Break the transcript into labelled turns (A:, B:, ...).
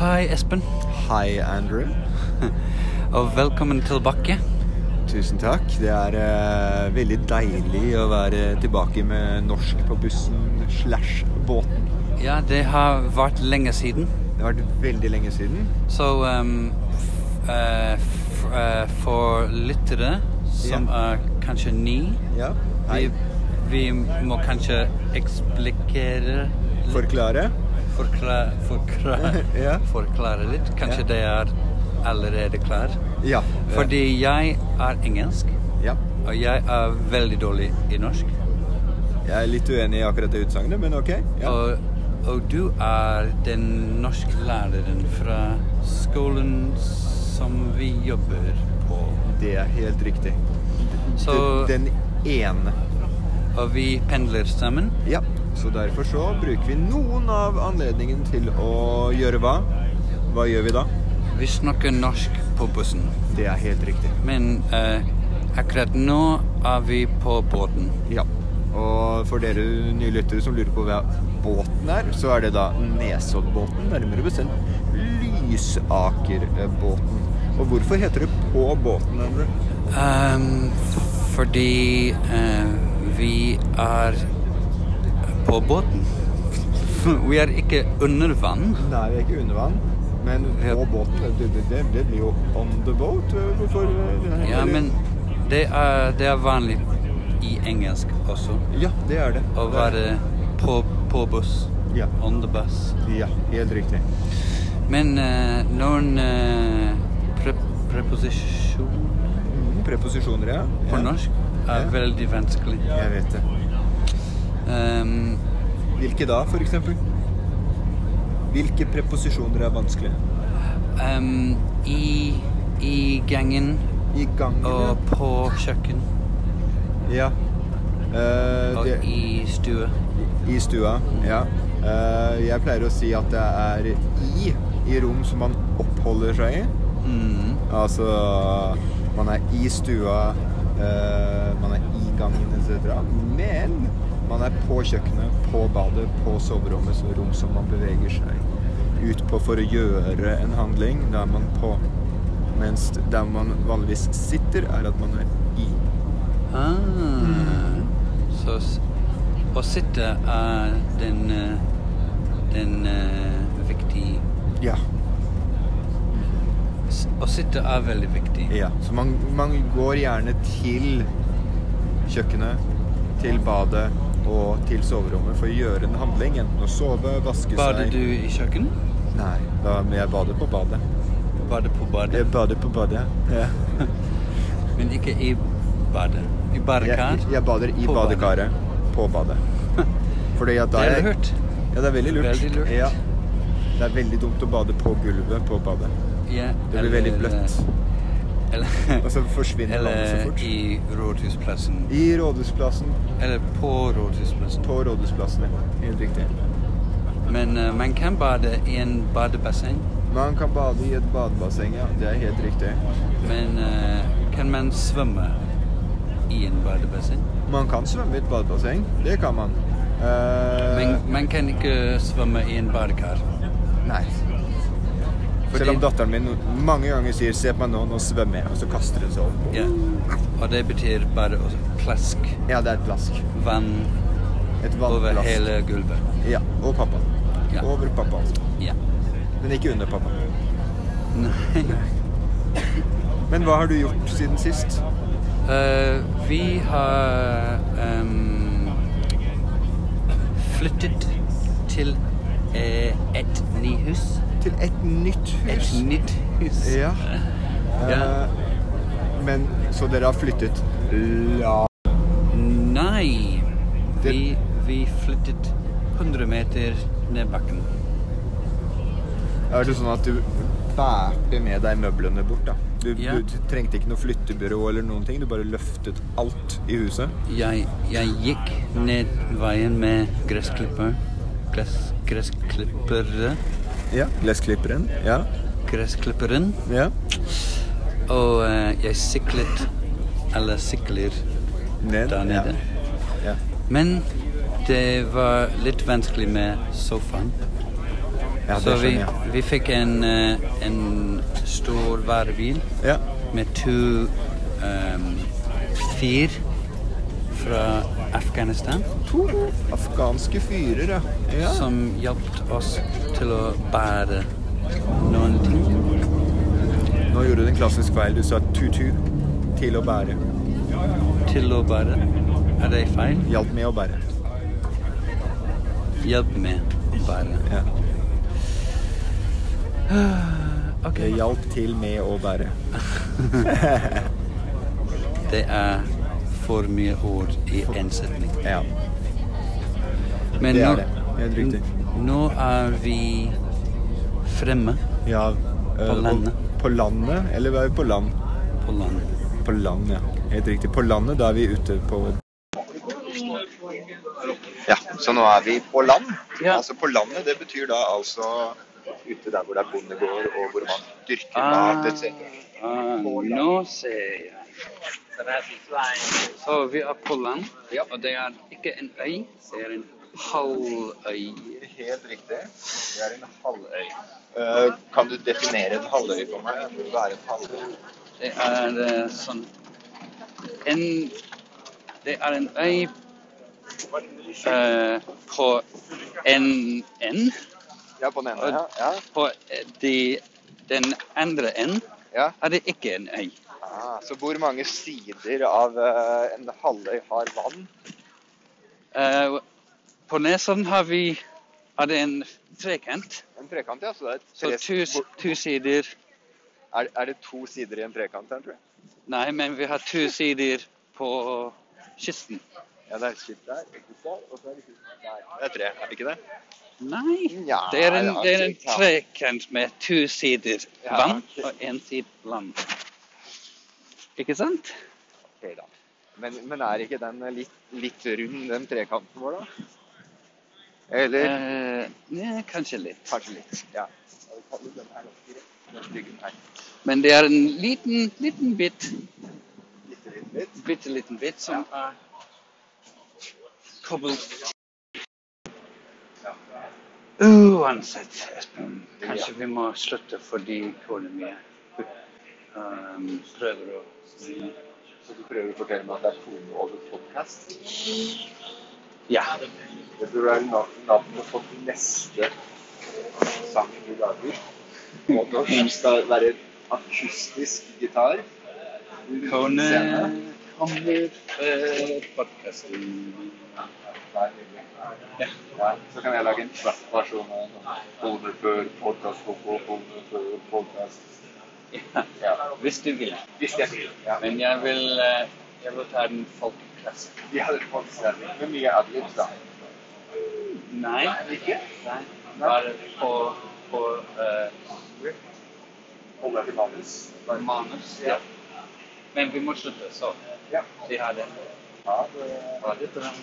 A: Hei, Espen,
B: Hei, Andrew.
A: og velkommen tilbake.
B: Tusen takk. Det er eh, veldig deilig å være tilbake med norsk på bussen slash båten.
A: Ja, det har vært lenge siden,
B: Det har vært veldig lenge siden.
A: så ehm, f- eh, f- eh, for lyttere som
B: Ja.
A: er kanskje ny,
B: Ja.
A: vi,
B: Hei.
A: vi må kanskje eksplikere litt,
B: Forklare.
A: forklare, forklare,
B: Ja.
A: forklare litt. Kanskje
B: Ja.
A: det er allerede klar.
B: Ja.
A: Fordi jeg er engelsk,
B: Eh, Ja.
A: og jeg er veldig dårlig i norsk.
B: Jeg er litt uenig i akkurat det utsagnet, men ok. Ja.
A: Og, og du er den norske læreren fra skolen som vi jobber på.
B: Det er helt riktig.
A: Så,
B: Den den ene.
A: og vi pendler sammen.
B: Ja. Så derfor så bruker vi noen av anledningen til å gjøre hva? Hva gjør vi da?
A: Vi snakker norsk på bussen.
B: Det er helt riktig.
A: Men eh, akkurat nå er vi på båten.
B: Ja. Og for dere nye lyttere som lurer på hva båten er, så er det da Nesoddbåten. Nærmere bestemt Lysakerbåten. Og hvorfor heter det På båten? Endre?
A: Ehm, fordi eh, vi er på båten. vi er ikke under vann.
B: Nei, vi er ikke under vann. Men på
A: Ja.
B: båten, det, det, det, det blir jo on the boat. eh, Hvorfor eller-
A: Ja, men det er, det er vanlig i engelsk også.
B: Ja, det er det.
A: Å være på, på buss.
B: Ja.
A: On the bus.
B: Ja, helt riktig.
A: Men eh, noen eh, pre preposisjoner
B: Mm, preposisjoner, ja.
A: på
B: ja.
A: norsk er
B: Ja.
A: veldig vanskelig.
B: Jeg vet det.
A: Ehm,
B: Hvilke da, for eksempel? Hvilke preposisjoner er vanskelige?
A: ehm, i, I gangen
B: I gangen, ja.
A: og på kjøkken
B: Ja. Eh,
A: og
B: det,
A: i stue.
B: I stua, ja. Eh, jeg pleier å si at det er i i rom som man oppholder seg i.
A: Mm.
B: Altså man er i stua, eh, man er i gangen etc. Men man er på kjøkkenet, på badet, på soverommet, så rom som man beveger seg ut på for å gjøre en handling. Da er man på. Mens der man vanligvis sitter, er at man er i.
A: Ah.
B: Mm.
A: Så s- å sitte er den, eh, den eh, viktig
B: Ja.
A: s- Å sitte er veldig viktig.
B: Ja, så man, man går gjerne til kjøkkenet, til badet og til soverommet for å gjøre en handling. Enten å sove, vaske
A: Bader
B: seg
A: du i kjøkken?
B: Nei, da, men jeg bader på badet.
A: Bader på badet,
B: Jeg bader på badet. Ja.
A: men ikke i badet. I badekar?
B: Jeg, jeg bader i
A: På badet.
B: badekaret. På badet. Fordi at da
A: Det er
B: jeg-
A: lurt.
B: Ja, det er veldig lurt.
A: Veldig lurt.
B: Ja. Det er veldig dumt å bade på gulvet på badet.
A: Ja,
B: Det blir veldig
A: eller-
B: bløtt.
A: Eller,
B: Og så forsvinner vannet så
A: eller
B: fort.
A: i Rådhusplassen.
B: I Rådhusplassen.
A: Eller på Rådhusplassen.
B: På Rådhusplassen, ja. Helt riktig.
A: Men eh, man kan bade i en badebasseng.
B: Man kan bade i et badebasseng, ja. Det er helt riktig.
A: Men eh, kan man svømme i en badebasseng?
B: Man kan svømme i et badebasseng. Det kan man. Eh,
A: Man, man kan ikke svømme i en badekar.
B: Nei.
A: Fordi-
B: Selv om datteren min mange ganger sier 'se på meg nå, nå svømmer jeg', og så kaster hun seg over.
A: Ja. Og det betyr bare å plask
B: Ja, det er et plask.
A: vann
B: Et
A: over
B: vannplask.
A: hele gulvet.
B: Ja. Og pappa.
A: Ja.
B: Over pappa, altså.
A: Ja.
B: Men ikke under pappa.
A: Nei.
B: Men hva har du gjort siden sist?
A: Eh, vi har ehm, flyttet til eh, et nytt hus.
B: Til et nytt
A: Et
B: hus.
A: nytt hus.
B: Ja.
A: Ja.
B: Eh, men så dere har flyttet la...
A: Nei.
B: Det-
A: Vi, vi flyttet 100 meter ned bakken.
B: Er det sånn at du bærte med deg møblene bort, da? Du,
A: Ja.
B: du trengte ikke noe flyttebyrå eller noen ting, du bare løftet alt i huset?
A: Jeg, jeg gikk ned veien med gressklipper. Gress, gressklippere.
B: Ja. Glassklipperen? Ja.
A: Gressklipperen.
B: ja.
A: Og eh, jeg syklet, eller sykler,
B: Ned.
A: der nede.
B: Ja. ja.
A: Men det var litt vanskelig med sofaen.
B: Ja, det
A: så vi,
B: skjønner jeg.
A: vi fikk en, eh, en stor varebil
B: Ja.
A: med to um, fyr fra Afghanistan
B: To afghanske fyrer, ja. ja.
A: som hjalp oss til å bære noen ting.
B: Nå gjorde du en klassisk feil. Du sa tutu til å bære.
A: Til å bære. Er det feil?
B: Hjalp med å bære.
A: Hjelp med å bære.
B: Ja.
A: Ok.
B: Det hjalp til med å bære.
A: Det er for mye ord i én setning.
B: Ja.
A: Men
B: Det er
A: nå,
B: det. Helt riktig.
A: n- nå er vi fremme
B: ja eh, og-
A: landet.
B: På landet? Eller var vi på land?
A: på land.
B: På land, ja. Helt riktig. På landet, da er vi ute på Ja, så nå er vi på land.
A: Ja.
B: Altså på landet, det betyr da altså ute der hvor det er bondegård, og hvor man dyrker
A: Ah.
B: mat etc.
A: nå ser jeg. Så vi er på land, og det er ikke en øy, det er en halvøy.
B: Helt riktig. Det er en halvøy. Eh, kan du definere en halvøy for meg? Hva er en halvøy?
A: Det er eh, sånn en, Det er en øy eh, på en en
B: Ja, på den ene. Ja. ja.
A: På eh, de, den andre enden
B: Ja.
A: er det ikke en øy.
B: Ah, så hvor mange sider av eh, en halvøy har vann?
A: Eh, på Nesodden har vi er det en trekant,
B: En trekant, ja. Så det er,
A: så
B: tre,
A: to, s-
B: hvor-
A: to sider
B: er, er det to sider i en trekant her, tror jeg?
A: Nei, men vi har to sider på kysten.
B: Ja, det er et skilt der, et skilt der, og så er det et skilt der. Det er tre, er det ikke det?
A: Nei,
B: Nja,
A: det er en,
B: ja,
A: det er en
B: ja.
A: trekant med to sider
B: Ja,
A: vann
B: ok.
A: og én side land. Ikke sant?
B: Ok, da. Men, men er ikke den litt, litt rund, den trekanten vår, da? Eller
A: Eh, ja, kanskje litt.
B: kanskje litt. Ja. Ja, vi kaller den her ganske rett, den styggen her.
A: Men det er en liten, liten bit,
B: Litt, litt, litt.
A: bitte liten bit som er koblet Uansett, Espen, kanskje vi må slutte fordi kona mi ehm, prøver å
B: Så du prøver å fortelle meg at det er tone over podcast?
A: Ja.
B: Det tror jeg er nav- navnet på den neste sangen du lager. Og nå skal det være akustisk gitar.
A: Kone
B: Scene.
A: kommer eh, podkasten.
B: Ja. Ja, så kan jeg lage en svart versjon av den. Boner før podcast, koko, boner før podcast.
A: Ja,
B: Ja,
A: hvis du vil.
B: hvis jeg vil. Ja, men
A: Men jeg vil, eh, jeg vil ta den folkeklassisk.
B: de hadde faktisk det. Med mye adlibs, da.
A: Nei,
B: Ikke?
A: nei. Bare på, på eh,
B: Holder jeg til manus?
A: manus. Ja. Men vi må slutte, så
B: Ja.
A: vi har det.
B: Ja, det
A: Ha det bra.